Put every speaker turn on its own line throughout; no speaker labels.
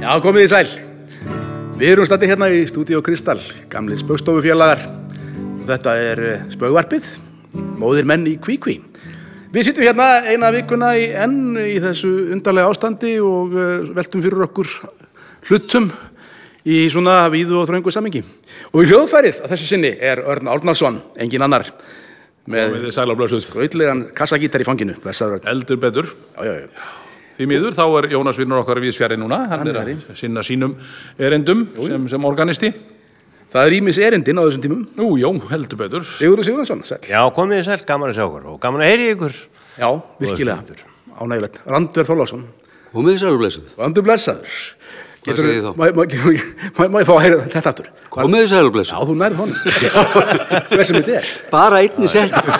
Já, komið í sæl. Við erum stættið hérna í Stúdíó Kristall, gamlir spaugstofufélagar. Þetta er eh, spaugvarpið, móðir menn í kvíkví. Við sittum hérna eina vikuna í enn í þessu undarlega ástandi og eh, veltum fyrir okkur hlutum í svona víðu og þröngu samingi. Og í hljóðfærið að þessu sinni er Örn Árnarsson, engin annar, með
Við þið sæla blössuð.
gröðlegan kassagítar í fanginu. Blessaður Örn.
Eldur betur.
Já, já, já.
Því miður þá er Jónas Vinnur okkar við sverri núna. Hann,
Hann
er
er
að sinna sínum erendum sem, sem organisti.
Það er ímis erindin á þessum tímum.
Jú, jú, heldur betur.
Sigurður Sigurðansson, sæl.
Já, komið þið sæl, gaman að sjá okkur og gaman að heyri ykkur.
Já, virkilega,
fundur.
ánægilegt. Randver Þorlásson,
Komið þið sælu blessuð.
randur blessaður.
segið þá?
Má má- má- má ég fá að heyra þetta aftur?
Komið þið sælu
Já,
blessuð.
þú nærð honum. Hver sem þetta er.
Bara einni sett.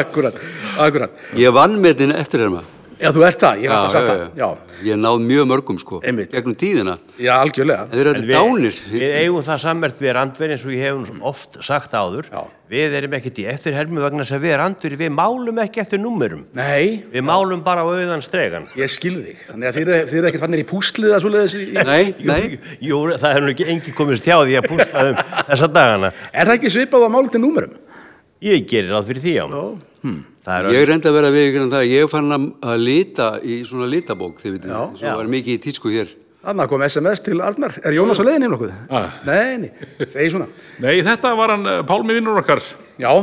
Akkurat, akkurat.
Ég vann með þinn eftir hérna.
Já, þú ert það, ég er alltaf sagt það. Já,
Ég náð mjög mörgum sko.
Einmitt.
Gegnum tíðina.
já, algjörlega.
En þeir eru
En
þetta dánir.
Við eigum það sammert við randverið eins og ég hef oft sagt áður.
Já.
Við erum ekkert í eftirhermi vegna þess að við randverið, við málum ekki eftir númerum.
Nei,
Við málum bara á auðan stregan.
ég skil þig. Þannig að þið eru- þið eru ekkert fannir í púslið að svoleiðis. í- í-
Nei, nei.
Jú, það hefur nú ekki engi komist hjá því að pústa um þessa dagana.
Er það ekki svipað á málutin númerum?
Ég gerir ráð fyrir því á.
Já.
Það er
Ég reyndi að vera við ykkur en það. Ég fann að að lita í svona litabók, þið veitum.
Já.
Svo
Já.
var mikið í tísku hér.
Þannig kom SMS til Arnar. Er Jónas á leiðinni nokkuð?
Ah.
Nei, nei, segi svona.
Nei, þetta var hann eh, Pálmi Vinnur okkar.
Já,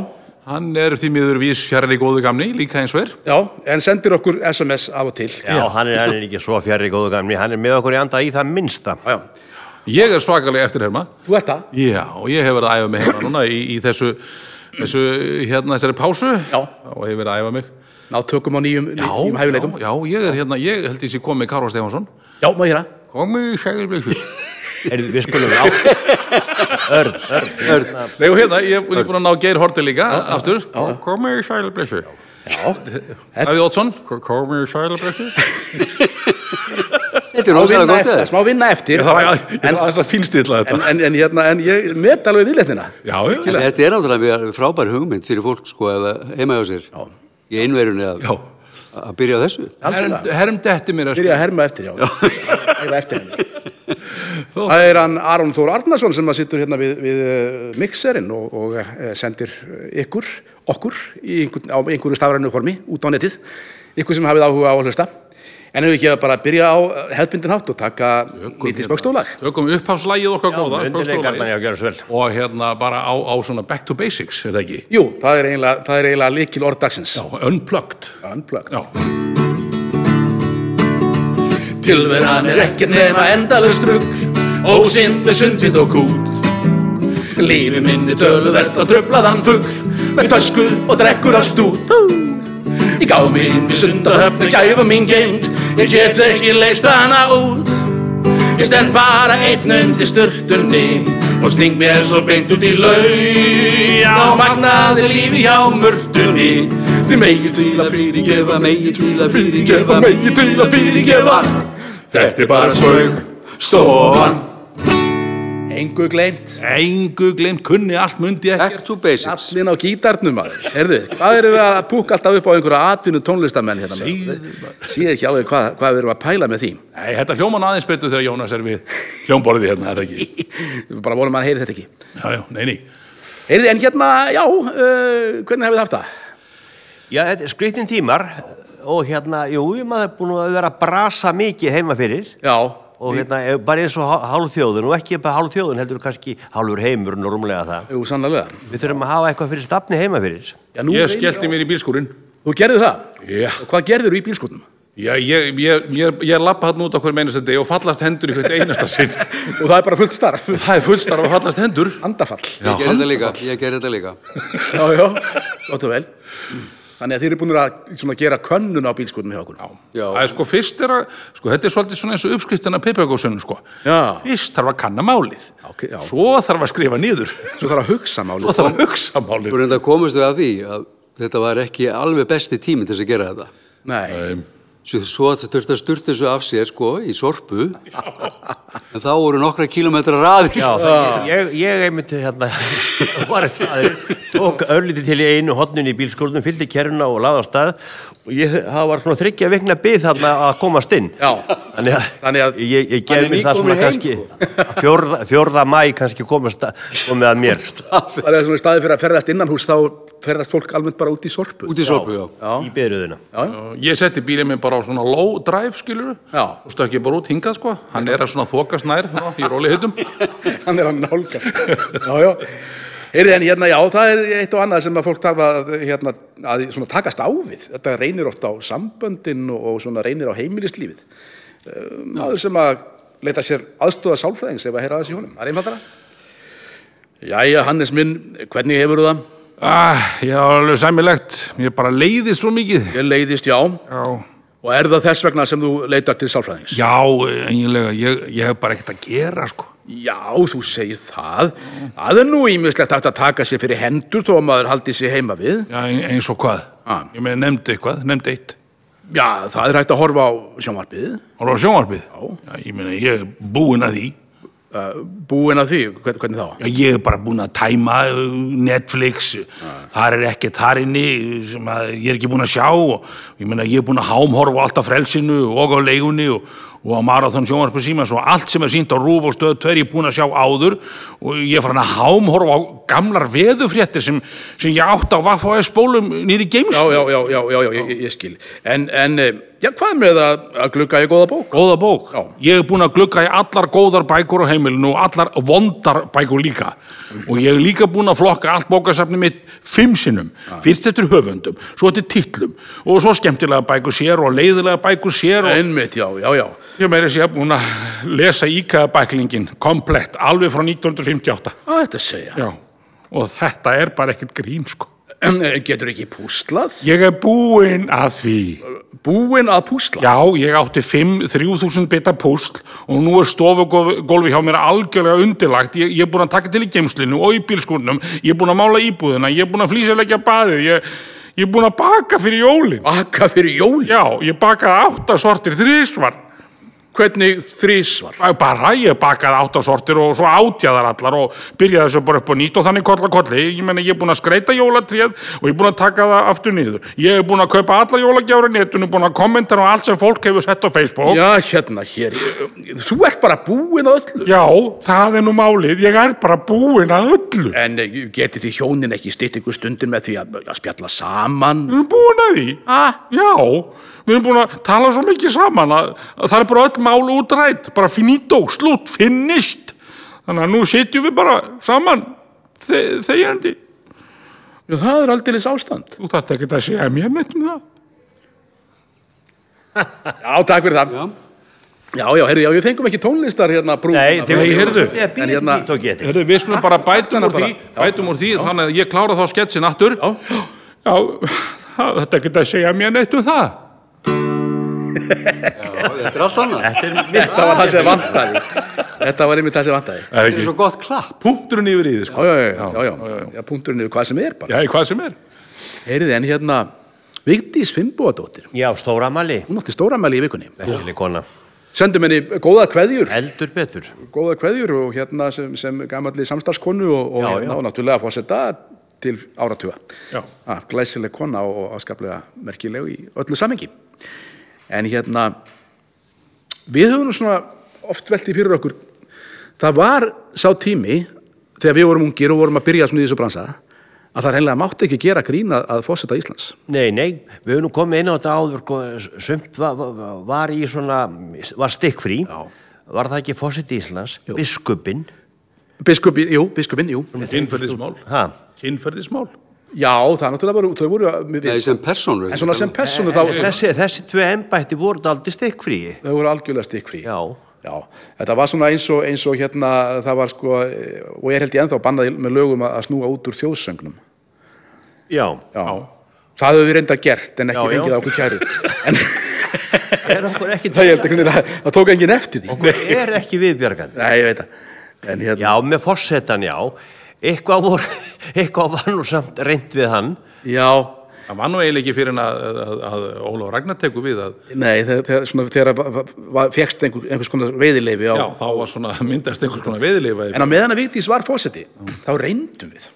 Hann er því miður vís fjarrri góðu gamni, líka eins og er.
já, en sendir okkur SMS af og til.
Já, hann er, hann er ekki svo fjarrri góðu gamni, hann er með okkur í anda í það minnsta.
Já, já.
Ég er svakalega eftirherma.
Þú ert það?
Já, og ég hef verið að æfa mig hérna núna í, í þessu, þessu, hérna, þessari pásu.
Já.
Og hef verið að æfa mig.
Ná tökum á nýjum,
Já,
nýjum hæfileikum.
já, já, ég er hérna, ég held ég sé komið Kára Stefánsson.
Já, má ég hýra?
Komið Sælir Blöksuð.
Er, við skulum á... Örn, örn.
Örn,
Nei og hérna, ég er búin að ná Geir Horti líka aftur. Komið í sælublessu. Æfið Ótsson, komið í sælublessu.
Þetta er
Smá
rosalega
vinna
gott
eftir,
eða?
smá vinna eftir. en,
aðeins að finnstilla
en, en, en, hérna, en ég met alveg viðletnina.
Já,
En
virkilega.
Þetta er náttúrulega frábær hugmynd fyrir fólk sko ef það heima hjá sér.
Já.
Í einverjunni að,
Já.
að byrja á þessu.
Herm,
Algjörlega.
herm detti mér að
Byrja að herma eftir, já. Æfa eftir henni. Það er hann Aron Þór Arnarsson sem að sittur hérna við, við eh, mixerinn og, og eh, sendir ykkur, okkur, í einhver, á einhverju stafrænu formi út á netið. Ykkur sem hafið áhuga á að hlusta. En ef við ekki að bara byrja á hefðbundin hátt og taka lítið spökstólag.
Tökum uppháslægið okkar góða.
Undirleikarnar,
spökstólag.
já, gjörðu svo vel.
Og hérna bara á, á svona back to basics, er það ekki?
Jú, það er eiginlega, það er eiginlega líkil orðdagsins.
Já, unplugged.
Unplugged.
Já.
Tilveran er ekkert nema endalur strugg Ósind með sundvind og kút Lífi minni töluvert á tröflaðan fugg Með tösku og drekkur af stút Hú. Ég gá mig inn við sundahöfni gæfa mín geimt Ég get ekki leist hana út Ég stend bara einn undir sturtunni Og sting mér svo beint út í laun Á magnaði lífi hjá mörtunni Þið megi til að fyrirgefa, megi til að fyrirgefa, megi til að fyrirgefa Þetta er bara svöng, stofan Engu gleymt
Engu glemt kunni allt mundi ekki.
Back to basics.
Allir á gítarnum maður, heyrðu, hvað erum við að púka alltaf upp á einhverja atvinnu tónlistamenn hérna maður? Sýðu ekki alveg hvað, hvað við erum að pæla með því.
Nei, þetta hljóman aðeins betur þegar Jónas er við hljómborðið hérna, er það ekki?
Við bara vonum að heyri þetta ekki.
Já, já, nei, nei.
Heyrðu, en hérna, já, uh, hvernig hefur það haft það?
Já, þetta er skritin tímar og hérna, jú, maður er búin að vera að brasa mikið heima fyrir
Já,
og hérna, eh, bara eins og hál- hálf þjóðun og ekki bara hálf þjóðun, heldur kannski hálfur heimur og rúmlega það.
jú, sannlega.
Við þurfum að hafa eitthvað fyrir stafni heima fyrir.
Já, nú
Ég
reynir
skellti mér í bílskúrin.
á- Þú gerði það?
Já.
Og hvað gerðir þú í bílskotnum?
Já, ég, ég, ég, ég lappa hann út á hverjum einasta deg og fallast hendur í hvert einasta sinn.
Og það er bara fullt starf.
Það er fullstarf að fallast hendur.
Handafall.
Já,
Ég gerði þetta líka, ég gerði þetta líka.
Já, já, gott og vel. Þannig að þið eru búin að svona, gera könnun á bílskotnum hjá okkur. Já.
Já.
Það er sko fyrst er að, sko þetta er svolítið svona eins og uppskriftin að pipagósunum sko.
Já.
Fyrst þarf að kanna málið.
Ok, já.
Svo þarf að skrifa niður.
Svo þarf að hugsa málið.
Svo þarf að hugsa málið.
Þú reynda komast við að því að þetta var ekki alveg besti tíminn til þess að gera þetta.
Nei,
Um,
Svo, svo þurfti að sturta þessu af sér sko í sorpu. En þá voru nokkra kílometra raðir.
Já, það, ég, ég, ég einmitt hérna, var eitthvað, tók örlítið til í einu hotnun í bílskórnum, fyllti keruna og laði á stað og ég, það var svona þryggja vikna byð þarna að komast inn
Já.
þannig að,
Þannig að-
ég, ég
hann er
gerði mér það svona
nýkominn heim, sko.
kannski fjórða, fjórða mæ kannski komast að, komið að mér
Það er svona í staði fyrir að ferðast innan hús þá ferðast fólk almennt bara út í sorpu.
Út í sorpu, já.
í byrjuðina
Ég setti bílið minn bara á svona low drive, skilur
Já.
og stökk ég bara út hingað, sko. Hann er að svona þokast nær, svona, í róli hittum.
hann er að nálgast já, já Heyrði, en hérna, já, það er eitt og annað sem að fólk þarf að, hérna, að svona, takast á við. Þetta reynir oft á samböndin og, og svona, reynir á heimilislífið. Um, maður sem að leita sér aðstóða sálfræðings ef að heyra aðeins í honum. Það er einfaldara. Jæja, Hannes minn, hvernig hefur það?
Ah, já, alveg sæmilegt. Mér bara leiði svo mikið.
Ég leiðist, já.
Já,
Og er það þess vegna sem þú leitar til sálfræðings?
já eiginlega. Ég, ég hef bara ekkert að gera, sko.
Já, þú segir það. Það er nú ímislegt hægt að taka sér fyrir hendur þó að maður haldi sér heima við.
Já, ein- eins og hvað?
Ah.
Ég með nefndi eitthvað, nefndi eitt.
Já, það er hægt að horfa á sjónvarpið.
Hún var á sjónvarpið? Já. Ég meina, ég er búinn að því.
Eh, Búin að því, hvern, hvernig þá?
Já, ég er bara búinn að tæma uh, Netflix, þar er ekkert þar inni sem að ég er ekki búinn að sjá og ég meina ég er búinn að hámhorfa á alltaf frelsinu og á leigunni og, og á Marathon sjónvarpu símans og allt sem er sínt á rúf og stöð tver ég er búinn að sjá áður og ég er farin að hámhorfa á gamlar veðufréttir sem, sem ég átt á Vaffa og Spólum nýri
Já,
geimstu.
já, já, já, já, já ég, ég skil. En, en, eh, já, hvað með að, að glugga í góða bók?
Góða bók.
Já.
Ég hef búin að glugga í allar góðar bækur á heimilinu og allar vondar bækur líka. Og ég hef líka búin að flokka allt bókasafni mitt fimm sinnum. Fyrst eftir höfundum, svo eftir titlum og svo skemmtilega bækur sér og leiðilega bækur sér og
Einmitt, já, já, já.
ég meira sér búin að lesa íkaða bæklingin komplett alveg frá 1958.
Að þetta segja.
Já. Og þetta er bara ekkert grín, sko.
Eh, Getur ekki púslað?
Ég er búinn að því.
Búin að púsla?
Já, ég átti 5-3000 bita púsl og nú er stofugólfi hjá mér algjörlega undirlagt. Ég, ég er búin að taka til í geimslinu og í bílskúrnum, ég er búin að mála íbúðina, ég er búin að flýsilegja baðið, ég, ég er búin að baka fyrir jólin.
Baka fyrir jólin?
Já, ég bakaði átta sortir þrísvar.
Hvernig þrísvar?
Æ, Bara, ég bakaði átta sortir og svo átjaðar allar og byrjaði þessu bara upp á nýtt og þannig koll að kolli. Ég meina, ég er búin að skreita jólatréð og ég er búin að taka það aftur niður. Ég er búin að kaupa alla jólagjafur í netinu, búin að kommentara á allt sem fólk hefur sett á Facebook.
Já, hérna, hér. eh, Þú ert bara búin að öllu.
Já, það er nú málið, ég er bara búinn að öllu.
En eh, getið þið hjónin ekki stýtt ykkur stundir með því að, að spjalla saman?
Við erum búin að því.
Ah.
Já, við erum búin að tala svo mikið saman að, að það er bara öll mál útrætt, bara finito, slutt, finished. Þannig að nú sitjum við bara saman, þe þegjandi.
Já, Það er aldrei ástand.
Þú þarft ekki að segja mér neitt um það.
Já, takk fyrir það.
Já.
Já, já, heyrðu, já, við fengum ekki tónlistar hérna brú.
Nei,
þið
Nei, heyrðu.
Ég
En
býði
hérna-
nýtt og geti
Heru, við skulum bara bætum
takk
úr því,
bara.
bætum úr því þannig að ég klára þá sketsin aftur. Já, það, þetta ekki að segja mér neitt um það.
Já, þetta er allt annað.
Þetta er mitt
Þetta var það sem vantaði. Þetta var einmitt það sem vantaði.
Það er
Þetta er
ekki
svo gott klapp.
punkturinn yfir í því,
Já,
sko.
já, já, já, já, já, já, punkturinn er hvað sem er bara.
Já, hvað sem er.
Heyrið, en hérna, Vigdís Finnbóadóttir,
Já, stóra mali
hún átti stóramæli í vikunni.
Merkileg kona.
Sendum henni góða kveðjur,
Eldur betur
góða kveðjur og hérna sem, sem gamalli samstarfskonu og, og,
Já,
hérna,
já.
og náttúrulega fórseta til áratuga.
Já.
Ah, glæsileg kona og og afskaplega merkileg í öllu samengi. En hérna, við höfum nú svona oft veltið fyrir okkur, það var sá tími þegar við vorum ungir og vorum að byrja svona í þessu bransa, að það reynilega mátti ekki gera grín að, að fósetta Íslands.
Nei, nei, við höfum nú komið inn á þetta áður sko, sumt var, var í svona var stikkfrí
Já.
var það ekki fósitt Íslands,
Jú.
biskupin
Biskupi, jú, biskupinn, jú.
Kynferðismál.
ha,
Kynferðismál.
Já, það er náttúrulega voru, þau voru við,
Nei, sem persónur.
en svona sem personu þá,
þessi, þessi tvei embætti voru aldrei stikkfrí
þau voru algjörlega stikkfrí.
já,
Já, þetta var svona eins og, eins og hérna, það var sko, eh, og ég er held ég ennþá bannað í- með lögum að að snúa út úr þjóðsöngnum.
já
Já. Það höfum við reynda gert en ekki
Já, já.
fengið á okkur kæru. En
er okkur ekki,
það, ég held ekki, það, það tók enginn eftir því.
er ekki viðbjörgan
Nei, ég veit það. En hérna,
já, með fósettan, já eitthvað, voru, eitthvað var nú samt reynd við hann
já,
Það var nú eiginlega ekki fyrir en að, að, að Ólaf Ragnar tekur við að
nei, þegar, þegar, svona, þegar va- va- va- fékkst einhver, einhvers konar veiðileifi á...
já, þá var svona myndast einhvers konar veðilefa.
En á meðan að Vigdís var fósetti, þá reyndum við.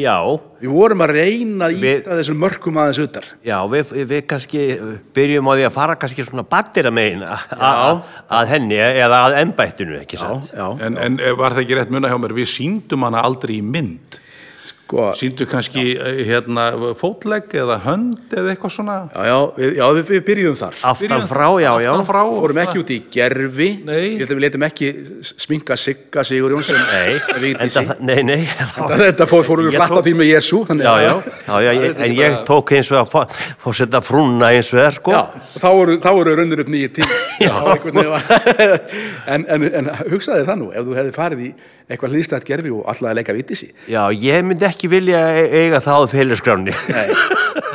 Já,
Við vorum að reyna að
Við-
íta þessum mörkum aðeins utar.
já, við, við kannski byrjum á því að fara kannski svona battira megin að henni eða að embættinu, ekki satt?
já.
En, en eh, var það ekki rétt muna hjá mér, við síndum hana aldrei í mynd.
Sko,
Sýndu kannski eh, hérna, fótlegg eða hönd eða eitthvað svona.
já, já, við, já, við, við byrjuðum þar.
Aftan frá, já, já.
Aftan frá. og
Fórum
svona.
ekki út í gerfi,
Nei.
Ég held að við letum ekki s- sminka Sigga Sigurjón sem
Nei,
sem við
enda, það- nei, nei.
Þetta fór, fórum við
Ég
flatt á
tók-
því með Jésu.
Já, já, já, já ég, en ég tók eins og að fórsetta frúnna eins og er, sko.
Já, þá voru, þá voru runnir upp nýjir tíma Já. Það var einhvern veginn var- en, en, en hugsaði það nú ef þú hefði farið í eitthvað hlýstætt gerfi og alltaf að leika vitið sér
Já, ég myndi ekki vilja e- eiga það á félagsgráni.
Nei.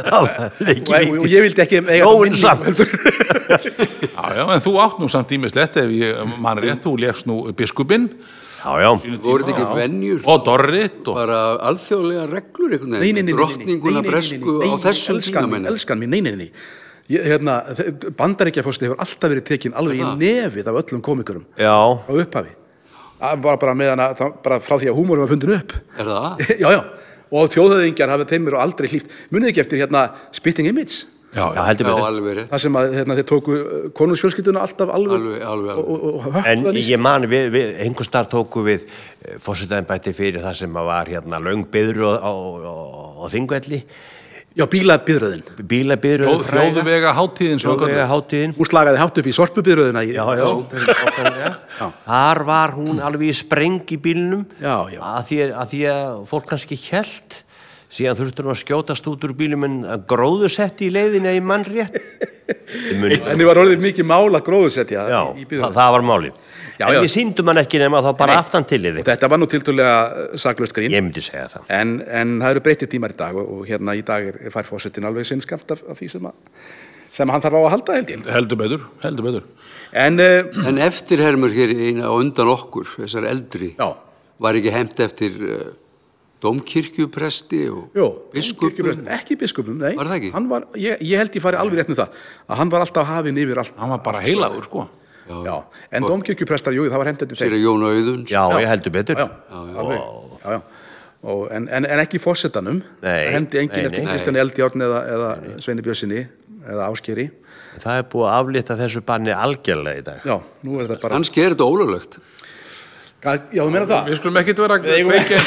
og,
Ekki
og, og ég vildi ekki eiga
Nóin
minningu
samt.
heldur.
Já, já, en þú átt nú samt ímislegt ef ég man rétt, þú lékst nú biskupinn
Já, já,
voru þetta ekki venjur
og dorrit og
bara alþjóðlega reglur einhvern
Nei, nei, nei, nei, nei, nei,
veginn,
nei,
drottninguna
nei, nei,
bresku
nei,
á
nei,
þessum
elskan
tíma
mín,
menn
Elskan mín, nei, nei, nei Ég- hérna, Bandaríkjafósti hefur alltaf verið tekin alveg í nefið af öllum komikurum
já.
á upphafi Það var bara meðan að, það- bara frá því að húmórum var fundin upp
er það?
já, já, og þjóðhöðingjar hafa þeimur aldrei hlýft munið ekki eftir hérna Spitting Image
já,
Já,
já,
heldur
Já,
betur.
alveg rétt
það sem að hérna, þeir tóku konungsfjölskylduna alltaf alveg,
Alveg, alveg, alveg.
og, og, og
En
höfðu
ég man, við, við einhvern starf tóku við fórsetaðinbætti fyrir það sem að var hérna löngbyður á, á, á, á þingvelli,
já, bílabiðröðin
bílabyður
og þjóðvega hátíðin sem við
Þjóðvega
köllum.
hátíðin.
hún slagaði hátt upp í sorpubiðröðina í,
Já, já. Þar var hún alveg í spreng í bílnum
Já, já.
Að, því, að því að fólk kannski hjælt síðan þurftur hún að skjótast út úr bílum en að gróðusetti í leiðinni í mann rétt Ég mun-
en þið var orðið mikið mál að gróðusetja
Já,
í, í
það,
biðröðina
það var málið
Já,
En
já.
við síndum hann ekki nema þá bara
Nei.
aftan til
og
yfir
þetta var nú tiltölulega uh, saklaust grín
Ég myndi segja það
en, en það eru breytið tímar í dag og, og hérna í dag er, er fær fórsetin alveg sinn skamt af, af því sem, að, sem hann þarf á að halda held ég
Heldur betur, heldur betur.
en uh,
en eftirhermur hér eina á undan okkur þessar eldri
já,
var ekki heimt eftir uh, domkirkjupresti og
Jó,
biskupum
kirkjuprestur- ekki biskupum, nei
um. Var það ekki?
Hann Var, ég, ég held ég fari alveg rétt með það að hann var alltaf hafinn yfir allt
Hann var bara heilagur, sko.
já. en domkirkjuprestar, jú, það var hendur til
sér að Jón Auðuns
Já, ég heldur betur
já, alveg, já, já. Og, en, en, en ekki fórsetanum
Nei,
hendi
nei,
engin eftir
nei.
Kristján Eldjárn eða, eða Sveini Bjössinni eða Áskeri
Það er búið að aflita þessu banni algjörlega í dag
já, nú er það bara
kannski er þetta ólöglegt
Ga- já, þú meina það,
Við skulum ekkit vera að kveikja,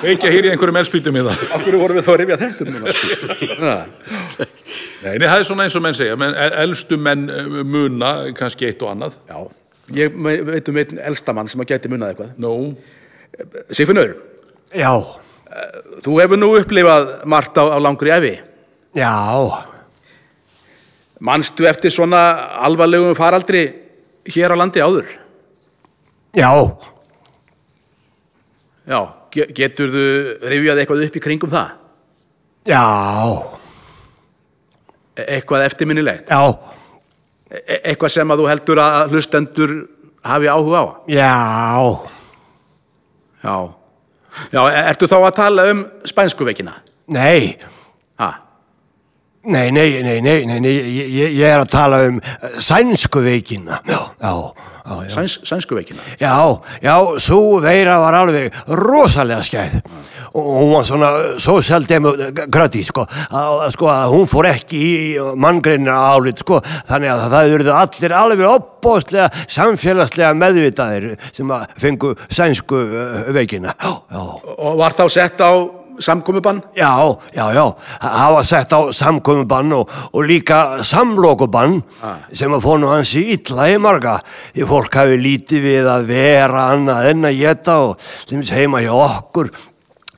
kveikja hér í einhverjum elspýtum í það.
af hverju vorum við þá að rifja þetta um núna
Nei, nei, það er svona eins og menn segja, menn, el- elstu menn eh, muna kannski eitt og annað.
já, ég me- veit um einn elstamann sem að gæti munað eitthvað
Nú,
Sigfinnur, Eh,
Já,
þú hefur nú upplifað margt á, á langri efi
já
Manstu eftir svona alvarlegum faraldri hér á landi áður?
Já,
Já, ge- geturðu rifjað eitthvað upp í kringum það?
já,
E- Eitthvað eftirminnilegt?
já,
E eitthvað sem að þú heldur að hlustendur hafi áhuga á?
já
Já. Já, e- ertu þá að tala um spænskuveikina?
Nei,
Ha?
nei, nei, nei, nei, nei, nei ég, ég- ég er að tala um eh, sænsku veikina. Já, já, já, já.
Sæns, sænskuveikina?
Já, já, svo veira var alveg rosalega skeið. Og hún var svona sósjaldemokrati, sko, að, sko, að hún fór ekki í manngreina álit, sko, þannig að það eru allir alveg opbóðslega samfélagslega meðvitaðir sem að fengu sænsku eh, veikina. Já, já.
Og var þá sett á samkomubann?
Já, já, já, það var sett á samkomubann og, og líka samlokubann sem að fór nú hans í illa í marga því fólk hafi lítið við að vera annað en að geta og þeim heima hjá okkur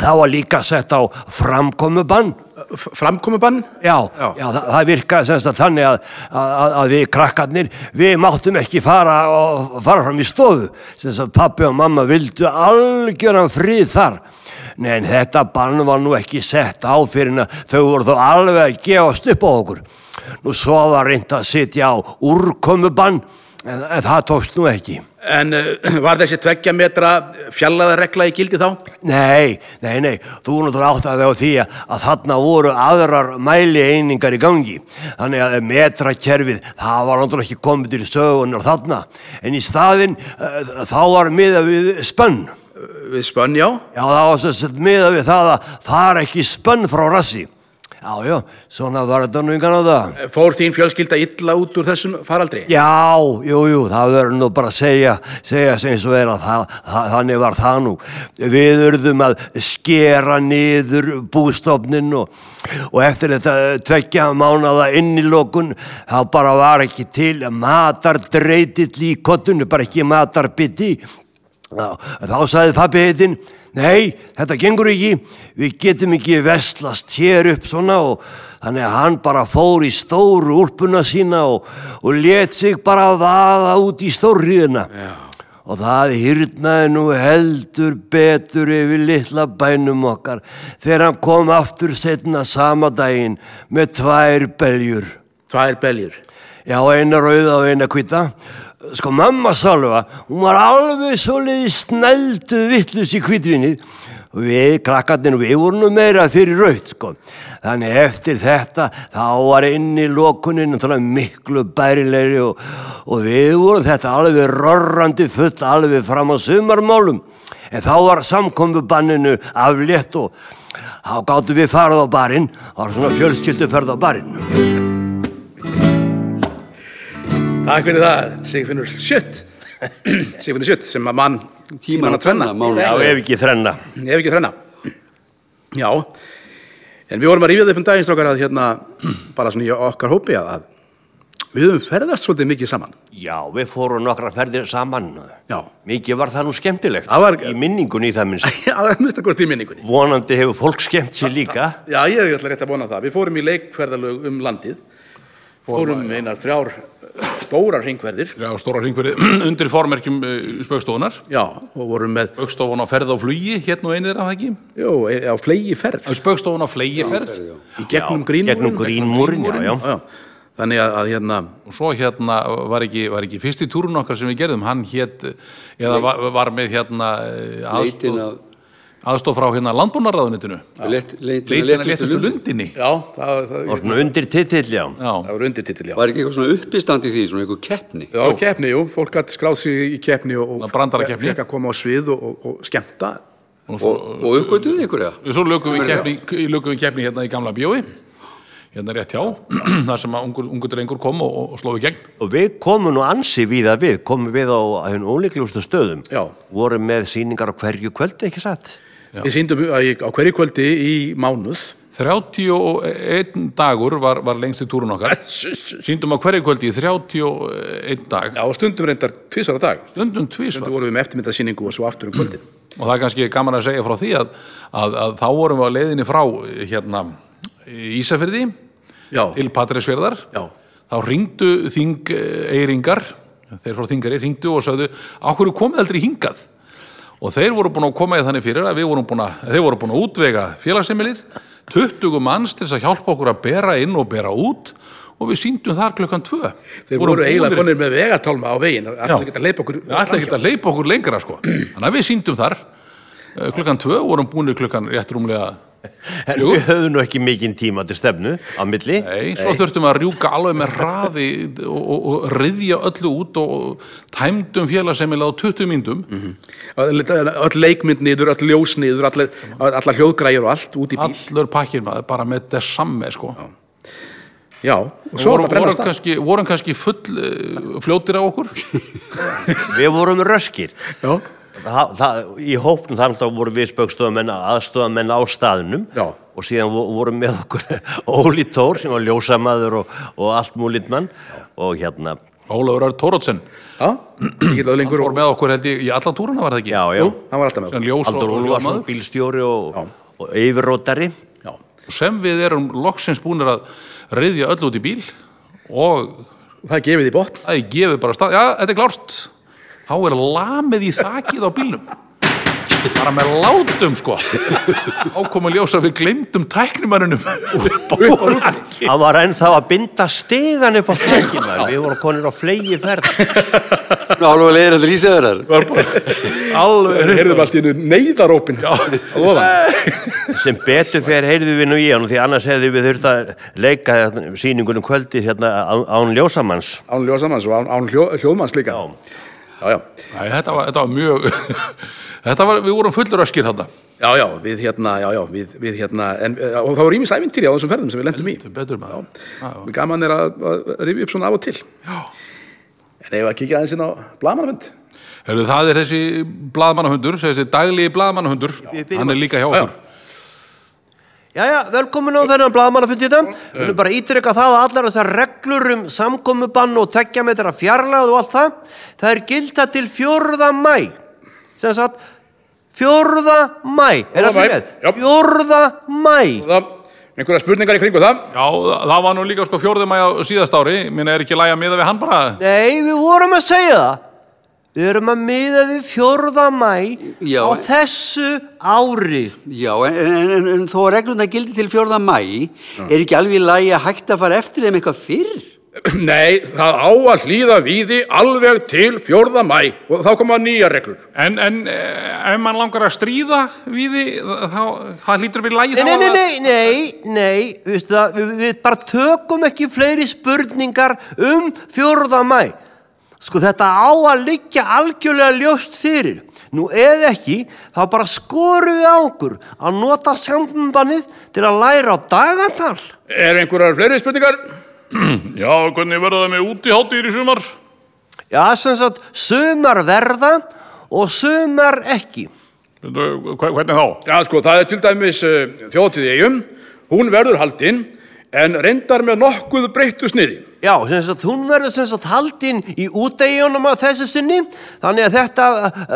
það var líka sett á framkomubann
F- Framkomubann?
Já,
Já.
já. það, það virkaði semst að þannig að, að, að við krakkarnir, við máttum ekki fara, og, fara fram í stofu, semst að pappi og mamma vildu algjöran frið þar. Nei, en þetta bann var nú ekki sett á fyrir en að þau voru þó alveg að gefast upp á okkur. Nú svo var reynd að sitja á úrkomubann, en, en það tókst nú ekki.
En uh, var þessi tveggja metra fjallaðaregla í gildi þá?
Nei, nei, nei, þú náttúrulega áttaði á því að, að þarna voru aðrar mælieiningar í gangi. Þannig að metrakerfið, það var náttúrulega ekki komið eh, til sögunar þarna. En í staðinn, uh, þá var miða við spönn.
við spönjá
Já, það var svo sett miða við það að fara ekki spönn frá rassi. Já, já, svona var þetta nú yngan á það.
Fór þín fjölskylda illa út úr þessum faraldri?
Já, jú, jú, það verður nú bara að segja, segja sem eins og er að það, það, þannig var það nú. Við urðum að skera niður bústofnin og, og eftir þetta tveggja mánada innilokun, þá bara var ekki til matardreitill í kottunni, bara ekki matarbiti. Já, þá sagði pappi heitinn, nei, þetta gengur ekki, við getum ekki vestlast hér upp svona og þannig að hann bara fór í stóru úlpuna sína og, og let sig bara vaða út í stórriðina. Og það hýrnaði nú heldur betur yfir litla bænum okkar þegar hann kom aftur setna sama daginn með tvær beljur.
Tvær beljur.
Já, eina rauða og eina hvita. Sko, mamma Salva, hún var alveg svoleiði snældu vittlus í hvitvinni. Við, krakkarnir, við vorum nú meira fyrir raut, sko. Þannig eftir þetta, þá var inn í lokunin miklu bærilegri og, og við vorum þetta alveg rorrandi full alveg fram á sumarmálum. En þá var samkombu banninu aflétt og þá gáttu við farið á barinn. Það var svona fjölskylduferð á barinn.
Takk fyrir það, Sigfinnur Sjött. Sigfinnur Sjött sem að mann
Tímann að tvenna, má nú
Já,
segja.
ef,
ef ekki þrenna.
ef ekki þrenna. Já, en við vorum að rífið upp um daginn strákar að hérna, bara svona í okkar hópi að, að við höfum ferðast svolítið mikið saman.
Já, við fórum nokkra ferðir saman.
Já.
Mikið var það nú skemmtilegt.
Það var-
Í minningunni í það minnst.
Að minnst að hvort í minningunni.
Vonandi hefur fólk skemmt sér líka.
Já, ég ætla rétt að vona það. Við fórum í leikferðalög um landið, fórum einar þrjár eh, stórar hringverðir,
Já, stóra hringverið undir formerkjum uh, spökstóðunar.
já, og vorum með,
Spökstofan á ferð á flugi, hérna og einið er af það ekki.
jú, e- á flegi ferð,
Spökstofan á flegi ferð.
í gegnum grínmúrin.
Gegnum grínmúrin, já, já.
Já, þannig að, að hérna,
Og svo hérna var ekki, var ekki fyrsti túrun okkar sem við gerðum, hann hétt, eða var, var með hérna eh,
Leitin
aðstoð,
að
aðstoð frá hérna landbúnarraðunitinu.
leit- leitin að
Leitin að
letustu
léttustu
lund
lundinni.
já, það, það,
Og svona undir titill, já.
Já,
það var undirtitill, já.
Var ekki eitthvað svona uppistand í því, svona eitthvað keppni
Já, keppni, jú, fólk gæti skráð sig í keppni og,
Ná,
og
brandarakeppni.
fekk að koma á svið og, og, og skemmta.
og
og,
svo,
og uppgötuðu ykkur eða?
Svo lögum við keppni, lögum við keppni hérna í gamla bjói, hérna rétt hjá, þar sem að ungur, ungur drengur kom og, og sló í gegn.
Og við komum nú ansi víða við, komum við á henn óleiklustu stöðum.
Já.
Vorum með síningar á hverju kvöldi, ekki satt?
Við síndum að ég, á hverju kvöldi í mánuð.
31 dagur var, var lengst í túrun okkar síndum á hverju kvöldi í 31 dag
Já, og stundum reyndar tvisara dag.
stundum tvísvar
Stundum vorum við með eftirmyndasýningu og svo aftur um kvöldi.
og það er kannski gaman að segja frá því að, að, að þá vorum við á leiðinni frá eh, hérna Ísafyrði
Já,
til Patræsfjörðar
já,
þá ringdu þing eiringar þeir frá þingari ringdu og sagðu á hverju komið aldrei hingað og þeir voru búin að koma í þannig fyrir að við vorum búin að þeir voru búin að útvega félagsemilið 20 manns til þess að hjálpa okkur að bera inn og bera út og við síndum þar klukkan 2
þeir voru eiginlega konir með vegatálma á veginn. Það
Já.
ætlaði ekki að leipa okkur.
við ætlaði ekki að leipa okkur lengra sko þannig að við síndum þar eh, klukkan 2 vorum búinir klukkan rétt rúmlega
En
Jú.
við höfðum nú ekki mikinn tíma til stefnu á milli.
Nei, svo þurftum að rjúka alveg með raði og, og, og riðja öllu út og tæmdum félagsemilega á 20 myndum
Mhm.
Öll leikmynd niður, öll ljós niður, öll, alla hljóðgræjur og allt út í bíl.
allur pakkir maður, bara með þess samme sko.
Já, og svo var
vorum,
það
vorum,
brennast það.
kannski, vorum kannski full uh, fljótir á okkur
Við vorum röskir.
Já,
Það, það, í hópnum þar þá vorum við spökstofamenn aðstofamenn á staðnum
Já.
og síðan vo- vorum með okkur Óli Tór sem var ljósamaður og, og allt múlitt mann og hérna,
Ólafur Ör Tórótsen
já, ekki löðlingur
fór
og...
með okkur held ég í alla túruna var það ekki
já, já
Jú, hann var alltaf með.
sem ljós og,
Aldur
og
Úlfarsson,
ljómaður
bílstjóri og,
Já.
og yfirrótari
Já,
sem við erum loksins búinir að riðja öll út í bíl og
það gefið í botn.
það er gefið bara stað já, þetta er klárst þá er lamið í þakið á bílnum bara með látum sko ákomið ljós að við glemdum tæknumannunum við vorum ekki
hann var ennþá að binda stegan upp á þækina við vorum konir á flegi ferð
Ná, alveg leiðir allir ísæðarar
var bara alveg
Heyrðum allt í einu neyðarópin. Já. Að ofan.
sem betur fyrir heyrðu við nú í hann því annars hefðu við þurft að leika hérna, sýningunum kvöldi hérna, á- án ljósamanns
án ljósamanns og án, án hljó, hljóðmanns líka. Já. já, já,
Nei, þetta var, þetta var mjög þetta var, við vorum fullur öskir þarna
já, já, við hérna, já, já, við, við hérna, en, og það voru ímis ævintýri á þessum ferðum sem við lendum í.
Þetta er betur maður Já, já.
Og Gaman er að, að rifja upp svona af og til.
Já.
En ef að kíkja aðeins inn á blamanafund.
Heru, það er þessi blaðmannahundur þessi dagligi blaðmannahundur hann er líka hjá okkur
Jæja, velkomin á þennan blaðmannafundi þetta. Við viljum bara ítrykka það að allar þessar reglur um samkomubann og tekja með þeirra fjarlæð og allt það, það er gilda til 4. mæ. Sem sagt, 4. mæ. Er
4.
allir
maí,
með?
já.
4. mæ.
Það, einhverja spurningar í kringu það?
Já, það það var nú líka sko fjórðumæja síðast ári minna er ekki læg að miða við hann bara
Nei, við vorum að segja það. Við erum að miða við 4. mæ
Já.
á þessu ári.
Já, en, en, en, en þó að regluna gildi til 4. mæ, er ekki alveg í lagi að hægt að fara eftir þeim eitthvað fyrr?
Nei, það á að hlýða víði alveg til 4. mæ og þá koma nýja reglur.
en, en eh, ef mann langar að stríða við því, þá, það hlýtur að byrja lægi
Nei, nei, nei, nei, nei, nei, veistu það, við, við bara tökum ekki fleiri spurningar um 4. mæ. Sko þetta á að liggja algjörlega ljóst fyrir. Nú ef ekki, þá bara skorum við á okkur að nota sambandið til að læra á dagatal.
Er einhverjar fleiri spurningar?
Já, hvernig verða það með útiháttir í sumar?
Já, sem sagt, sumar verða og sumar ekki.
Bíddu, hve- Hvernig þá?
Já, sko, það er til dæmis uh, þjóðtíð eigum. Hún verður haldinn en reyndar með nokkuð breyttu sniði.
Já, sem sagt, hún verður sem sagt haldinn í úteigjónum að þessu sinni, þannig að þetta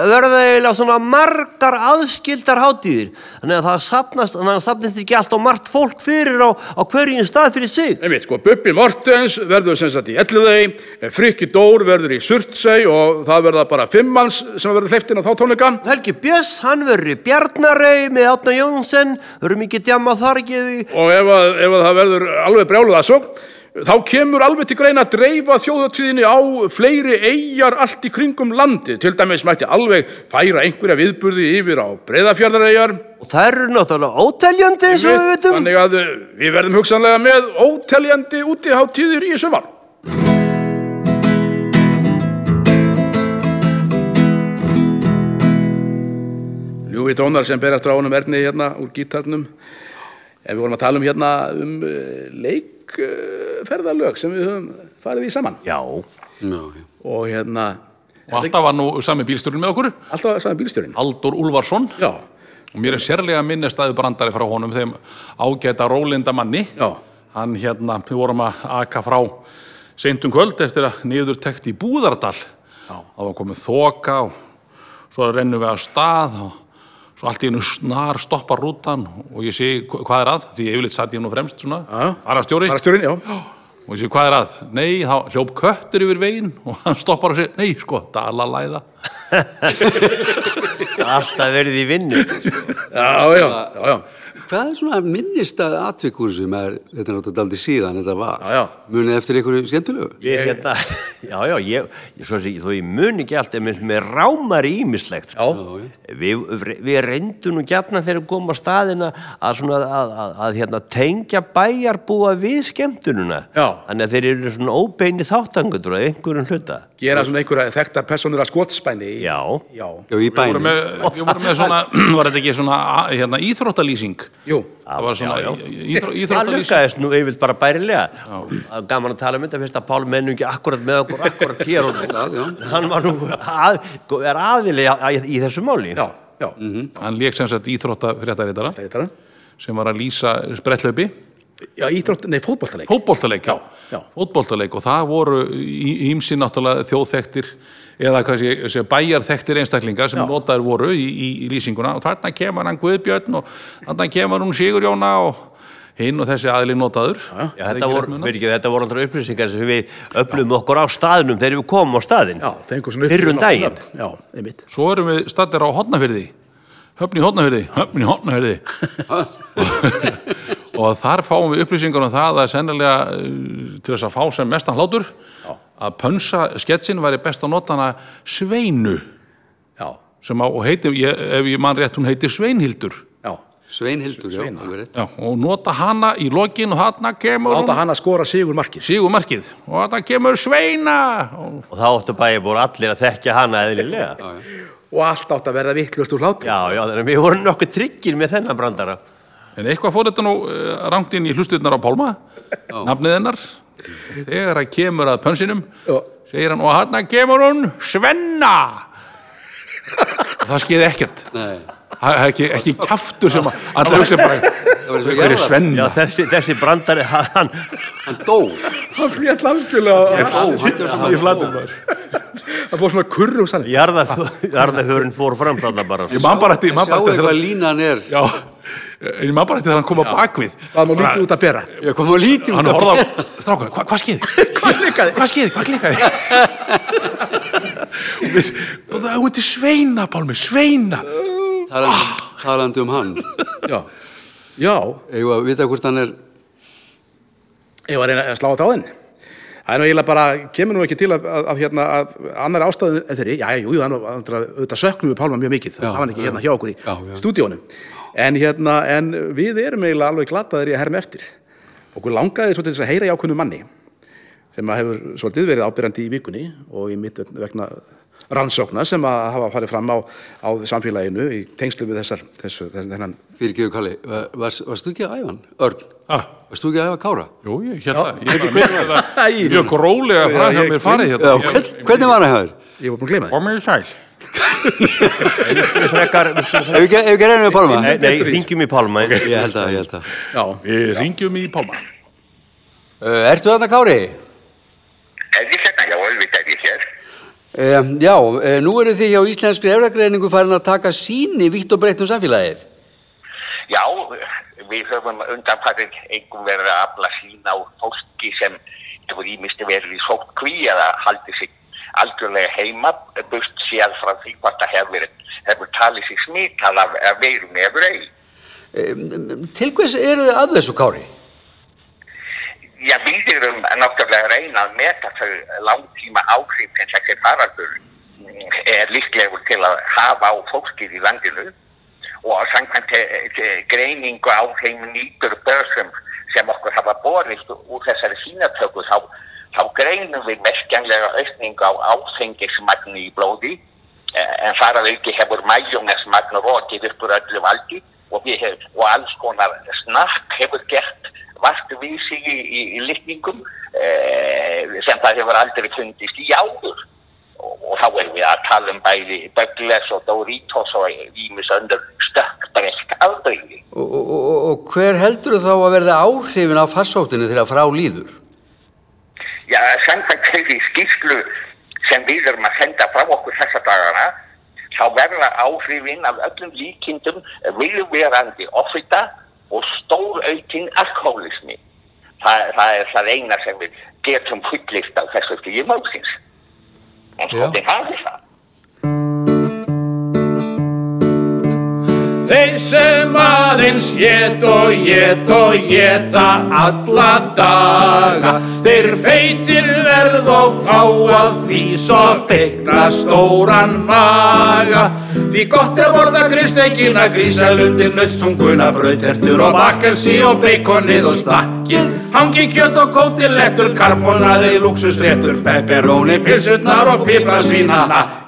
verður eiginlega svona margar aðskildar hátíðir, þannig að það sapnast, þannig að það sapnist ekki allt og margt fólk fyrir á, á hverjum stað fyrir sig.
Einmitt, sko, Bubbi Mortens verður sem sagt í Elliðei, Frikki Dór verður í Surtsey og það verða bara fimmanns sem verður hleyptinn á þá tónleika.
Helgi Bjöss, hann verður í Bjarnarei með Átna Jónsson, verður mikið djama þar ekki við.
Og ef, að, ef að það verður alveg brjáluð að svo, þá kemur alveg til greina að dreifa þjóðatíðinni á fleiri eigjar allt í kringum landið. Til dæmis mætti alveg færa einhverja viðburði yfir á breyðafjörðareigjar.
Og það eru náttúrulega óteljandi eins og við vitum.
Þannig að uh, við verðum hugsanlega með óteljandi útiháttíðir í sumar. Ljúfi tónar sem berast frá honum Erni hérna úr gítarnum. En við vorum að tala um hérna um leikferðalög sem við höfum farið í saman.
Já,
Já, já.
Og hérna,
Og alltaf var nú sami bílstjórinn með okkur
alltaf saman bílstjórinn.
Aldur Úlfarsson
Já,
og mér er sérlega minnestæðu brandari frá honum þeim ágæta rólindamanni
já,
hann hérna, við vorum að aka frá seintum kvöld eftir að niður tekt í Búðardal það var komið þoka og svo rennum við að stað og svo allt í einu snar stoppar rútan og ég sé hva- hvað er að því yfirleitt satt ég nú fremst svona,
Já.
farastjóri
farastjórinn, já.
og ég sé hvað er að, nei, þá hljóp köttur yfir veginn og hann stoppar og segir, nei, sko, dalalæða
alltaf verið í vinnu.
Já, já, já, já.
Hvað er svona minnist að atvikur sem er, þetta er náttúrulega aldrei síðan þetta var?
Já, já.
Munið eftir einhverju skemmtilegu?
Ég, hérna, já, já, ég, ég, svo, sem- þó ég mun ekki allt, en mér- mér rámar í ímislegt.
Já.
Við, við reyndum nú gjarna þegar við komum á staðina að, svona, að, að, að hérna, tengja bæjarbúa við skemmtununa.
Já.
Þannig að þeir eru svona óbeini þáttangundur að einhverjum hluta.
gera svona einhverja þekkta personur að skotspæni í-
Já.
já.
Já, í
Við vorum
bænum.
með, við vorum með svona, var þetta ekki svona hérna, íþróttalýsing?
Jú,
Það var svona
Já, já.
í- í- íþró-
Það
íþróttalýsing.
lukkaðist nú yfirlt bara bærilega. Það er Gaman að tala um þetta, fyrst að Pál menningi akkurat með okkur, akkurat hér og
Já, já.
hann var nú að, sko, er aðilega í þessu máli.
já, já
Hann leik sem sagt íþróttafréttaritara
Það er þetta
sem var að lýsa sprettlaupi,
Já, íþrótt, nei, fótboltaleik
fótboltaleik, já,
Já.
fótboltaleik og það voru ímsi náttúrulega þjóðþektir eða hvað sé, sé bæjarþektir einstaklingar sem notaður voru í, í, í lýsinguna og þarna kemur hann Guðbjörn og þarna kemur hún Sigurjóna og hinn og þessi aðli notaður.
Já, þetta voru, fyrir ekki, þetta voru alltaf upplýsingar sem við öflum okkur á staðnum þegar við komum á staðin.
Já, fengum svona upp-
Fyrr um daginn.
Já, einmitt
Svo erum við stattir á hotnafyrði Höfn í hotnafyrði, höfn í hotnafyrði og þar fáum við upplýsingar um það að sennilega eh, til þess að fá sem mestan hlátur að pönsa sketsin væri best að nota hana Sveinu
Já,
sem á, og heiti, ég, ef ég man rétt hún heiti Sveinhildur
já
Sveinhildur, já,
Sveina.
alveg rétt.
Já, og nota hana í lokin og hana kemur
Láta hann að skora sigur markið
Sigurmarkið og þarna kemur Sveina og
Og þá áttu bæði búin allir að þekkja hana eðlilega.
og allt átt að verða vittlust úr hlátur
Já, já, þannig að við vorum nokkuð tryggir með þennan brandara.
En eitthvað fór þetta nú uh, rangt inn í hlustirnar á Pálma, nafnið hennar. Þegar hann kemur að pönsinum,
Já.
segir hann, og hann kemur hún Svenna. það skeiði ekkert.
Nei,
Það er Ekki, ekki kjaftur sem að allir hugsa bara,
það var
hver
svo
er
jarðar.
Já,
Svenna?
þessi, þessi brandari, hann,
Hann dó.
hann flétt landskulega
Ó, hann dó sem
í flatum maður. það fór svona um kurrum sann
jarðaförin fór fram þarna bara.
Ég man bara eftir, ég man
Sjáu
bara eftir
eitthvað
þegar-
línan er.
Já, en ég man bara eftir þegar hann kom á bakvið.
það má
Bara-
lítið út að bera
Ég kom á lítið
Hann
út af
horfði á, strákur, hva, hvað skeiði? hvað klikkaði? Hvað skeiði, hvað klikkaði? Og við, bara það er út í sveina, Pálmi, sveina.
talandi, talandi um hann.
já, já,
Eða að vita hvort hann er,
ég var að reyna að slá á þráðin það er nú eiginlega bara, kemur nú ekki til að, að, að, hérna, að annar ástæðu en þeirri, já, jú, það er nú andra, auðvitað söknum við Pálma mjög mikið, það var hann ekki hérna hjá okkur í
Já, já.
stúdíónum en, hérna, en við erum eiginlega alveg glataðir í að herma eftir okkur langaði svo til þess að heyra í ákveðnum manni sem að hefur svolítið verið ábyrjandi í vikunni og í mitt vegna rannsókna sem að hafa farið fram á, á samfélaginu í tengslu við þessar, þessu, þessu, þennan
fyrirgeðu Kalli, var, varst, varst þú ekki að æfa hann? Örn,
Ah,
varst þú ekki að æfa Kára?
jú, ég held að, ég bara mér þetta
Æ,
mjög rólega frá hjá mér farið
Já,
hérna.
hvern, hvernig var hann hjá þér?
ég var búin að gleyma því
Kom mér í sæl.
Við frekar, við skulum
Ef ekki, ef ekki reynum við Palma?
Nei, nei hringjum í Palma
Ég held að, ég held að.
já,
Við ringjum í Pálma.
Uh, ertu þarna Kári?
Er ég hérna? Já, auðvitað er ég hér.
Uh, já, uh, nú eru þið hjá Íslenskri efragreiningu farin að taka síni vitt og breytt um samfélagið.
Já, við höfum undanfarið engum verið að afla sín á fólki sem hefur ímisti verið í sótt kví eða haldið sig algjörlega heima burt séð frá því hvort það hefur, hefur talið sig smitað af, af veirum efur ei.
Uh, til hvers eru þið að þessu Kári?
Já, við erum náttúrulega að reyna að meta þau langtíma áhrif en þessi faraldur mm, er líklegur til að hafa á fólkið í landinu og samkvæmt eh, eh, greiningu á þeim nýtur börsum sem okkur hafa borist úr þessari sínatöku þá, þá greinum við mestjanlega aukningu á áfengismagni í blóði eh, en þar að auki hefur mæjónesmagn rokið upp úr öllu valdi og, við hef, og alls konar snakk hefur gert vart við sig í, í, í litningum eh, sem það hefur aldrei fundist í áður og, og þá erum við að tala um bæði Douglas og Doritos og Ímis öndur stökkbreysk afbreyði.
Og, og, og, og hver heldur þá að verða áhrifin af farsóttinu þegar frá líður?
Já, samkvæmt þeirri skýrslu sem við erum að senda frá okkur þessa dagana, þá verða áhrifin af öllum líkindum viljuverandi offita og stóraukin alkoholismi. Þa, það er það eina sem við getum fullist á þessu stíði málsins. En
Já.
það er það er það.
Þeir sem aðeins get og get og geta alla daga Þeir feitir verð og fá að því svo feikna stóran maga Því gott er borða grístekina, grísalundir, nötstunguna, brautertur og bakkelsi og beikonið og snakkið Hangi kjött og kótilettur, karbonaði, luxusréttur, pepperoni, pilsutnar og piparsvína nakkið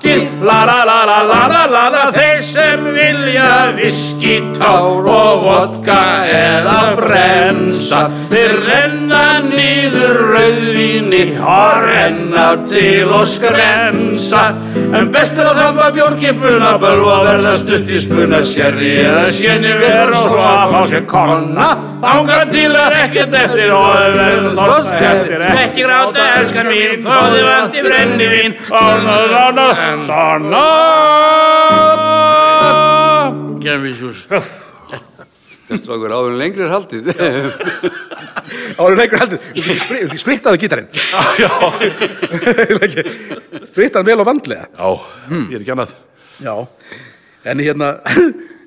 La la la la la la la la þeir sem vilja viski, tár og vodka eða brensa Þeir renna niður rauðvíni og renna til og skrensa En best er að þamba bjórkipuna bölva verða stutt í spuna sérri eða sjenni vera og svo að fá sér konna Ángar til er ekkert eftir og ef verður þorst eftir Ekki gráta elskan mín, þóði vandi brennivín og ná ná ná Sanna Gemvisjús
Strákur, áður en lengri er haldið.
Áður leikur heldur, viltu sprittaðu gítarinn?
Já,
Sprittaðu vel og vandlega
já, ég er ekki annað.
Já, en hérna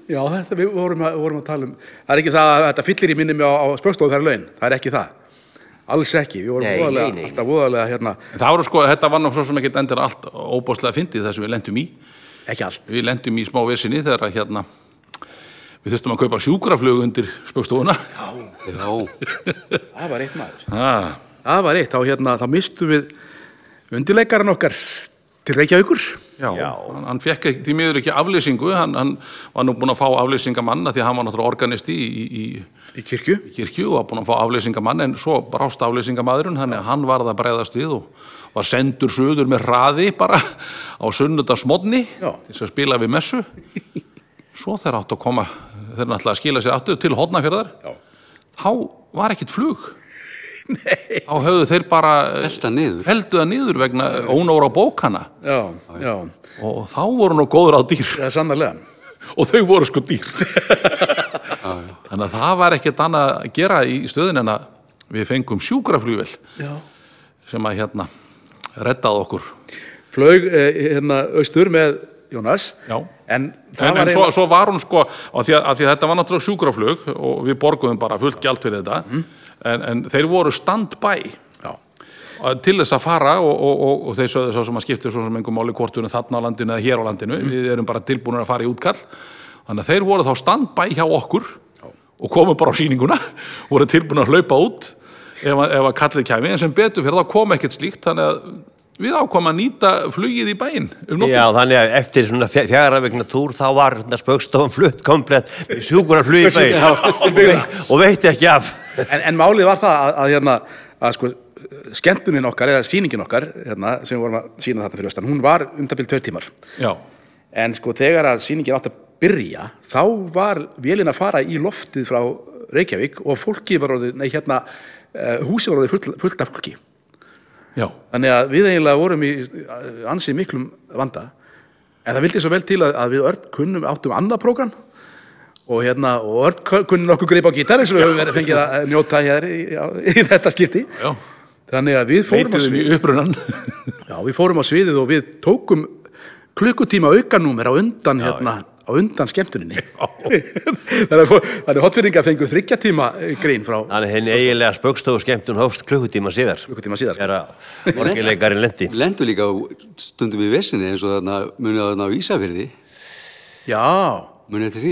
Já, þetta við vorum að, vorum að tala um Það er ekki það að þetta fyllir í minnum á, á spökstofu þær laun, það er ekki það Alls ekki, við vorum
Nei,
voðalega,
nei, nei.
alltaf voðalega hérna,
En Það voru sko, þetta var nú svo sem ekkert endur allt óbáslega fyndið þar sem við lendum í.
ekki allt
Við lendum í smá vissinni þegar að hérna við þurftum að kaupa sjúkraflögu undir spjókstofuna
já,
Það var eitt maður.
ah,
Það var eitt, þá hérna, þá mistum við undirleikarinn okkar til Reykjavíkur.
já, Hann, hann fekk ekki- því miður ekki aflýsingu hann, hann var nú búinn að fá aflýsingamann af því að hann var náttúrulega organisti í, í,
Í kirkju.
í kirkju og var búinn að fá aflýsingamann en svo brást aflýsingamæðurinn þannig að hann varð að bregðast við og var sendur suður með hraði bara á sunnudagsmodni
Já.
til þess að spila við messu svo þeir áttu að koma þeir náttúrulega að skila sér aftur til hodnafjörðar
Já.
þá var ekkit flug Nei. þá höfðu þeir bara
velta niður
heldu það niður vegna ónóra bókana
Já, já.
og þá voru nú góður á dýr
Það er sannarlega.
og þau voru sko dýr þannig að það var ekkert annað að gera í stöðin en að við fengum sjúkraflývel
Já.
sem að hérna rettaði okkur
Flaug, eh, hérna, austur með Jónas.
Já.
En það
en,
var
en svo, svo var hún sko af því, að, af því að þetta var náttúrulega sjúkraflug og við borguðum bara fullt gjald fyrir þetta en, en þeir voru stand-by
Já.
Að- til þess að fara og, og, og, og þeir sögðu svo sem að skipta svo sem engum máli kvortunum þarna á landinu eða hér á landinu
Mm.
við erum bara tilbúinir að fara í útkall þannig að þeir voru þá stand-by hjá okkur og komu bara á sýninguna voru tilbúinir að hlaupa út ef, að- ef að kallið kæmi en sem betur fyrir þá kom ekkert slíkt þannig að við ákvæm að nýta flugið í bæinn um nóttina.
Já, þannig að eftir svona fja- fjögurra vegna túr þá var spöggstofan flutt komplett sjúkur að flugi bæinn og veitti ekki af
en, en málið var það að, að hérna, að sko, skemmtunin okkar, eða sýningin okkar, hérna, sem við vorum að sína þetta fyrir austan, hún var um það byrjum tveir tímar.
Já.
En sko, þegar að sýningin átti að byrja, þá var vélina að fara í loftið frá Reykjavík og fólki var orðið, nei, hérna, eh, húsið var orðið full, fullt af fólki.
Já,
Þannig að við eiginlega vorum í eh, ansið miklum vanda. En það vildi svo vel til að, að við öll kunnum áttum annað prógram og hérna, og öll kunnum okkur greip á gítar eins og við höfum verið fengið að njóta hér í, á, í þetta skipti.
já,
Þannig að við fórum á,
leituðum í um.
svið,
upprunan
já, við fórum á sviðið og við tókum klukkutíma aukanúmer á undan, hérna, á undan skemmtuninni. þannig að, fó- þannig að hotfyrringa fengu þryggja tíma eh, grín frá
Þannig henni eiginlega spöggstofu skemmtun hófst klukkutíma síðar
klukkutíma síðar.
er að orgilegarinn lendi
lendu líka á- stundum í vesinni eins og þarna munið þarna á Ísafyrði
Já,
munið eftir því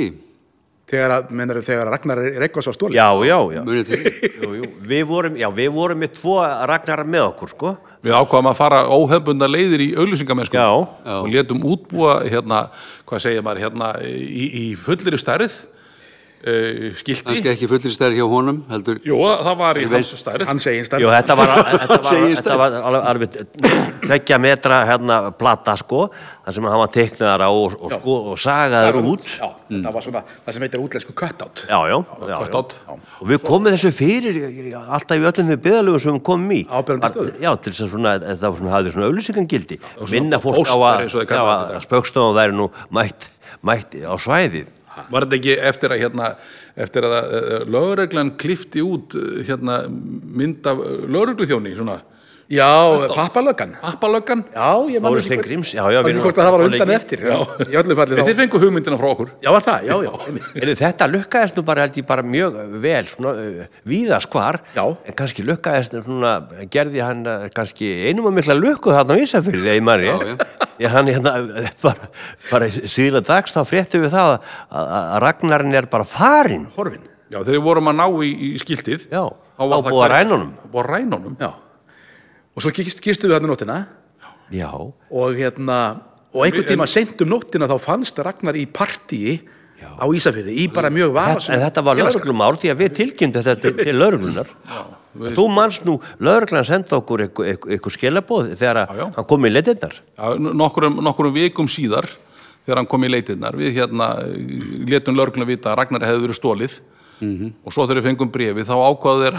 þegar að, mennur þegar að Ragnar Reykjás var stóli.
Já, já, já
munið eftir því
Jú, jú. Við vorum, já, við vorum með tvo ragnar með okkur, sko
Við ákvaðum að fara óhefbunda leiðir í auglýsingamennsku
Já.
og létum útbúa hérna, hvað segir maður, hérna í, í fullri stærð uh, skilti
kannski ekki fullir stærð hjá honum heldur
Jú, það var í hans stærð
Hann segi einstaklega.
Jú, þetta var, þetta var,
Segir
þetta var alveg, alveg tveggja metra hérna plata, sko þar sem hann var teiknaðar á og, og, sko, og sagaðar út
Já, það var svona, það sem heitir útlensku cut-out.
Mm. Já, já, já,
Cut
já.
out.
Og við komum þessu fyrir já, já, alltaf í öllum þau byðalöfum sem við komum í.
Áberandi
Að-
stöður.
Já, til þess að svona, að það var svona, hafði svona auðlýsingangildi. Minna fólk á
póster,
að,
eins og þau
já,
kalla
að
þetta í dag.
spöggstofan væri nú mætt, mætt á svæðið.
Var þetta ekki eftir að hérna eftir að uh, lögreglan klifti út eh, hérna mynd af eh, lögregluþjóni, svona
Já, pappalöggan.
appalöggan
Já, ég man
Þóri
ekki hvort-
Steingríms, já, já.
Man
við
ekki
erum
hvort að það var á
að-
undan eða eftir. Já, í öllu falli
Þið
þá.
fengu hugmyndina frá okkur
Já, var það, já, já. einmitt.
En þetta lukkaðist nú bara held ég bara mjög vel, svona uh, víðast hvar,
Já.
en kannski lukkaðist svona, gerði hann uh, kannski einum að mikla lukku þarna á Ísafyrði, eða í manni.
Já, já.
Ég hann hérna eh, bara, bara síðla dags þá fréttum við það að, að að Ragnarinn er bara farinn.
Horfin.
Já, þegar við vorum að ná í, í skiltið
Já,
þá var
á
það
búið að
hvergi.
rænunum.
Á Búið að rænunum
Já. Og svo gist, gistu við þarna nóttina
Já,
og hérna, og einhvern tíma seint um nóttina þá fannst Ragnar í partíi á Ísafjörði, í bara mjög
þetta,
vafasum.
en þetta var lögreglumál því að við tilkynntum þetta til, til lögreglunar. Þú manst nú, lögreglan senda okkur ykkur, ykkur, ykkur skilabóð þegar
Já,
að
já.
hann kom í letinnar.
Já, nokkurum, nokkurum vikum síðar þegar hann kom í leitirnar við hérna eh, létum lörglum vita að Ragnar hefði verið stólið og svo þegar við fengum brefið þá ákvaðu þeir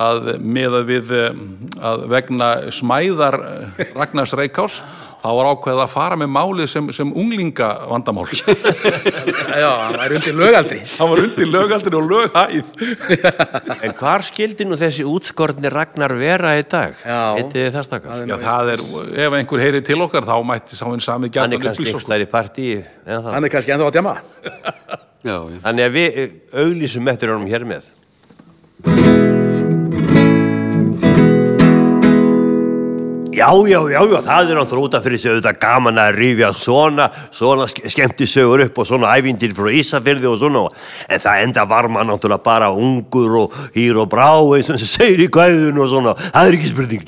að meða við eh, að vegna smæðar eh, Ragnars Reykjás þá var ákvaðið að fara með málið sem, sem unglinga vandamál
Já, hann var undir lögaldri.
hann var undir lögaldinu og löghæð
En hvar skildi nú þessi útskortni Ragnar vera í dag?
Já.
Vitið þið það stakkar?
Já, það er, ef einhver heyri til okkar þá mætti sá hinn sami
Hann
gjarnan
er kannski
upplýsa
einhvers
okkur.
staðar í partíi eða það.
Hann er kannski ennþá að djama.
já, já.
Þannig að við eh, auglýsum eftir honum hér með.
Já, já, já, já, það er náttúrulega út af fyrir sig auðvitað gaman að rifja svona, svona skemmtisögur upp og svona ævindir frá Ísafyrði og svona en það enda var maður náttúrulega bara ungur og hýr og brá eins og sem segir í kvæðun og svona það er ekki spurning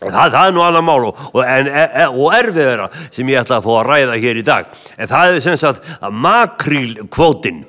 það, það er nú annað mál og, og, en, e, e, og erfiðara sem ég ætla að fá að ræða hér í dag en það er sem sagt að makrílkvótinn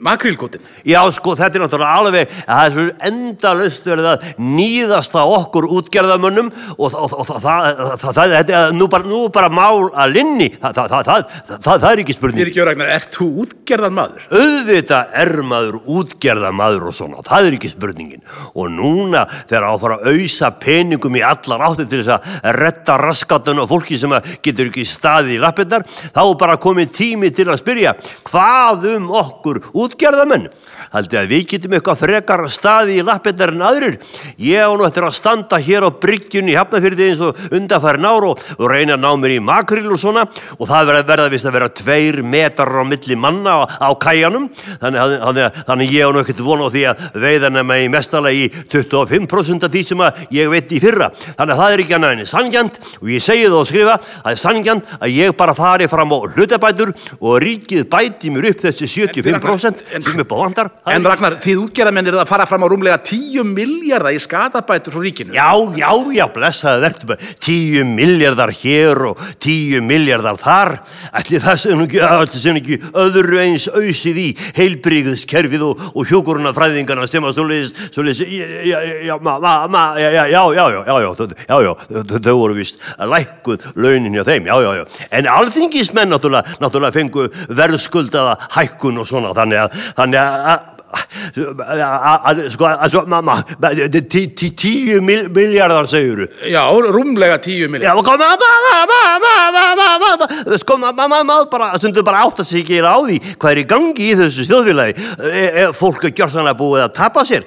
Makrílgótin
Já, sko, þetta er náttúrulega alveg að það er svo endalaust verið að nýðast á okkur útgerðamönnum og, og, og, og það, það, það, það, þetta er nú bara, nú bara mál að linni, það, það, það, það, það, það er ekki
Ég er
spurning.
ekki ragnar, ert þú útgerðan maður?
Auðvitað er maður útgerðamaður og svona, það er ekki spurningin. Og núna þegar á að fara að ausa peningum í allar áttir til þess að retta raskatun og fólki sem að getur ekki staðið í lappirnar, þá er bara komið tími til að spyrja hvað um okkur útgerðamenn? Haldið að við getum eitthvað frekar staði í lappirnar en aðrir. Ég á nú eftir að standa hér á bryggjunni í hafnafyrði eins og undanfæri náru og, og reyna að ná mér í makril og svona og það verða, verða vist að vera tveir metrar á milli manna á, á kæjanum þannig, að- þannig, að- þannig að ég á nú ekkert vona á því að veiðan er með í mestala í 25% af því sem að ég veit í fyrra. Þannig að það er ekki annað en sangjant og ég segi það og skrifa að er sangjant að ég bara fari fram á hlutabætur og ríkið bæti mér upp þessi 75%
En-
sem upp á vantar. Það er
En Ragnar, þið útgerðamenn eru að fara fram á rúmlega 10 miljardar í skadabætur frá ríkinu
Já, já, já, blessaði verður bara tíu miljardar hér og tíu miljardar þar. Ætli það sem ekki, ætli sem ekki öðru eins ausið í heilbríðskerfið og, og hjókurunafræðingarna sem að svoleiðis, svoleiðis, já, já, já, ma, ma, ma, já, já, já, já, já, já, já, þau- já, já, þau- þau voru vist lækkuð launin hjá þeim, já, já, já. En alþingismenn náttúrulega, náttúrulega fengu verðskuldaða hækkun og svona, þannig að, þannig að, sko, sko, mamma tíu miljardar segjuru
Já, rúmlega 10 miljardar
já, og koma sko, mamma, maður bara stundur bara átt að sig ekki á því hvað er í gangi í þessu þjóðfélagi E, fólk er gjörðan að búið að tapa sér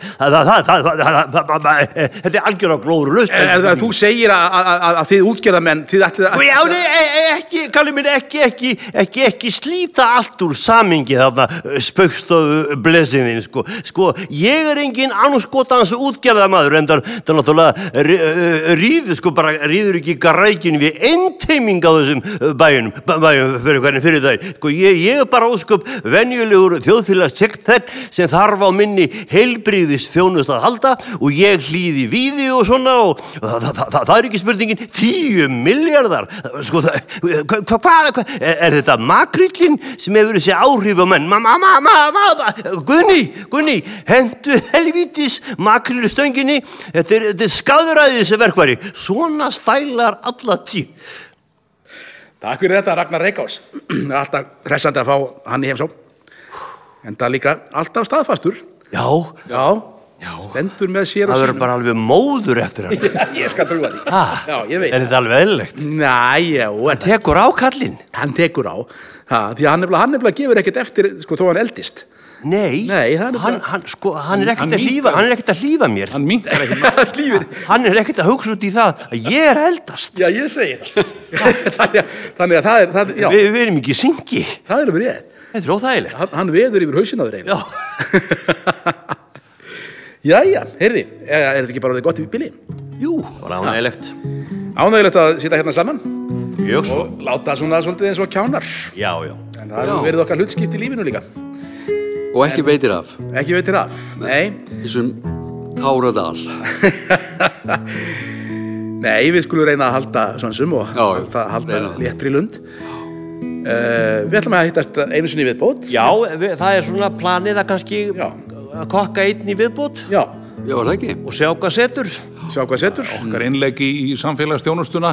þetta er algjör á glóru lust
Er, er, það- þú segir að, að, að, að þið útgerðamenn, þið ætlið að...
Já, nei, e- e- ekki, kalli minn, ekki, ekki, ekki, ekki slíta allt úr samingi þarna eh, spaukstofu blessinðin, sko. Sko, ég er engin anskotans útgerðamaður, en það er náttúrulega rí- eh, ríður, sko, bara ríður ekki garækin við einteiming á þessum eh, bæjunum, bæ- bæjunum fyrir hvernig fyrir þær. Sko, ég, ég er bara ósköp venjulegur þjóðfélagsekt þenn sem þarf á minni heilbriðis þjónust að halda og ég hlýði víði og svona og það, það, það, það, það er ekki spurningin tíu miljardar sko það hva, hva, hva, er, er þetta makrillin sem hefur þessi áhrif á menn ma, ma, ma, ma, ma, ma, Gunni, Gunni hendu helvítis makrillstönginni þetta er, þetta er skaduræði þessi verkværi svona stælar alla tíð
Takk fyrir þetta, Ragnar Reykjás. Alltaf hressandi að fá hann í heimsó. En það er líka alltaf staðfastur.
já,
Já, Já. stendur með sér og
það verður
sínum.
bara alveg móður eftir hann
ég skal trúa því.
Ha?
Já, ég veit.
er þetta alveg eðlilegt
Næ, já, en
tekur ákallin
hann tekur á. Ha, því að hann nefnilega, hann nefnilega gefur ekkert eftir, sko, þó hann eldist.
Nei,
Nei, það er
hann,
bara-
hann, sko, hann er ekkert
Hann
að hlýfa
minnkar.
hann er ekkert að hlýfa mér
hann minkar ekki
Lífið,
hann er ekkert að hugsa út í það að ég er að eldast
já, ég segi það. þannig, að, þannig að það er, það, já,
Vi, við erum ekki í syngi
það er verið ég.
þetta er óþægilegt
Hann, hann veður yfir hausin á þér eiginlega.
Já.
Jæja, heyrði, er, er þetta ekki bara orðið gott í bili?
Jú, ránægilegt
Ánægilegt að sitja hérna saman
Mjög svo
og láta svona svolítið eins og kjánar.
Já, já
En það hefur
Já.
verið okkar hlutskipt í lífinu líka.
og ekki veitir af
Ekki veitir af. Nei.
þessum táradal
Nei, við skulum reyna að halda svansum og
Já,
halda, halda
reyna það.
léttri lund. Uh, við ætlum að hittast einu sinni í viðbót.
Já, við, það er svona planið að kannski
Já.
að kokka einn í viðbót
Já,
já, var það ekki?
og sjá hvað setur
sjá hvað setur.
okkar innleik í, í samfélagsstjónustuna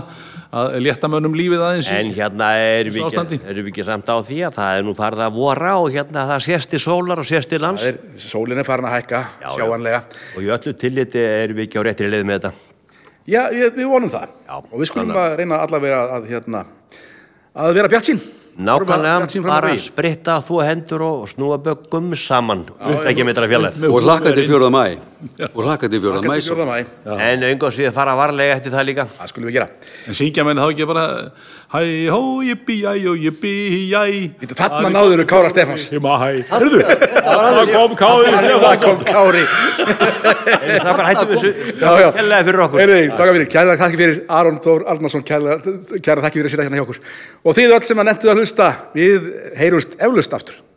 að létta mönnum lífið aðeins
En hérna erum við, ekki,
Ástandi.
erum við ekki samt á því að það er nú farið að vora og hérna það sést til sólar og sést til lands
Það er, sólin er farin að hækka,
Já, já.
sjáanlega.
og í öllu tilliti erum við ekki á réttri leið með þetta
Já, við, við vonum það.
Já,
og við skulum
þannig.
að reyna allavega að, hérna, að vera bjart sín.
Nákvæmlega, bara
bara spil.
spritta þú hendur og snúa böggum saman, upptækja mitra fjallið.
og hlakka til 4. mæ og hlakka til fjóra mæs
fjórða mæ
En einhvers við fara varlega eftir það líka
Það skulum við gera
En syngja menn þá ekki bara Hæ, hó, jippi, jæ, jó, jippi, jæ
Vítu, Þarna náður Kára Stefáns
Hima, hæ Hörðu, það kom káður
Það kom Kári
En það bara hættum við þessu
Já, já.
Kærlega fyrir okkur
Heyrðu, strákar mínir, Kæra þakki fyrir Aron Þór Arnarsson Kæra, kæra þakki fyrir að sitja hérna hjá okkur Og þið öll sem að nefntu að hlusta Við heyrumst eflust aftur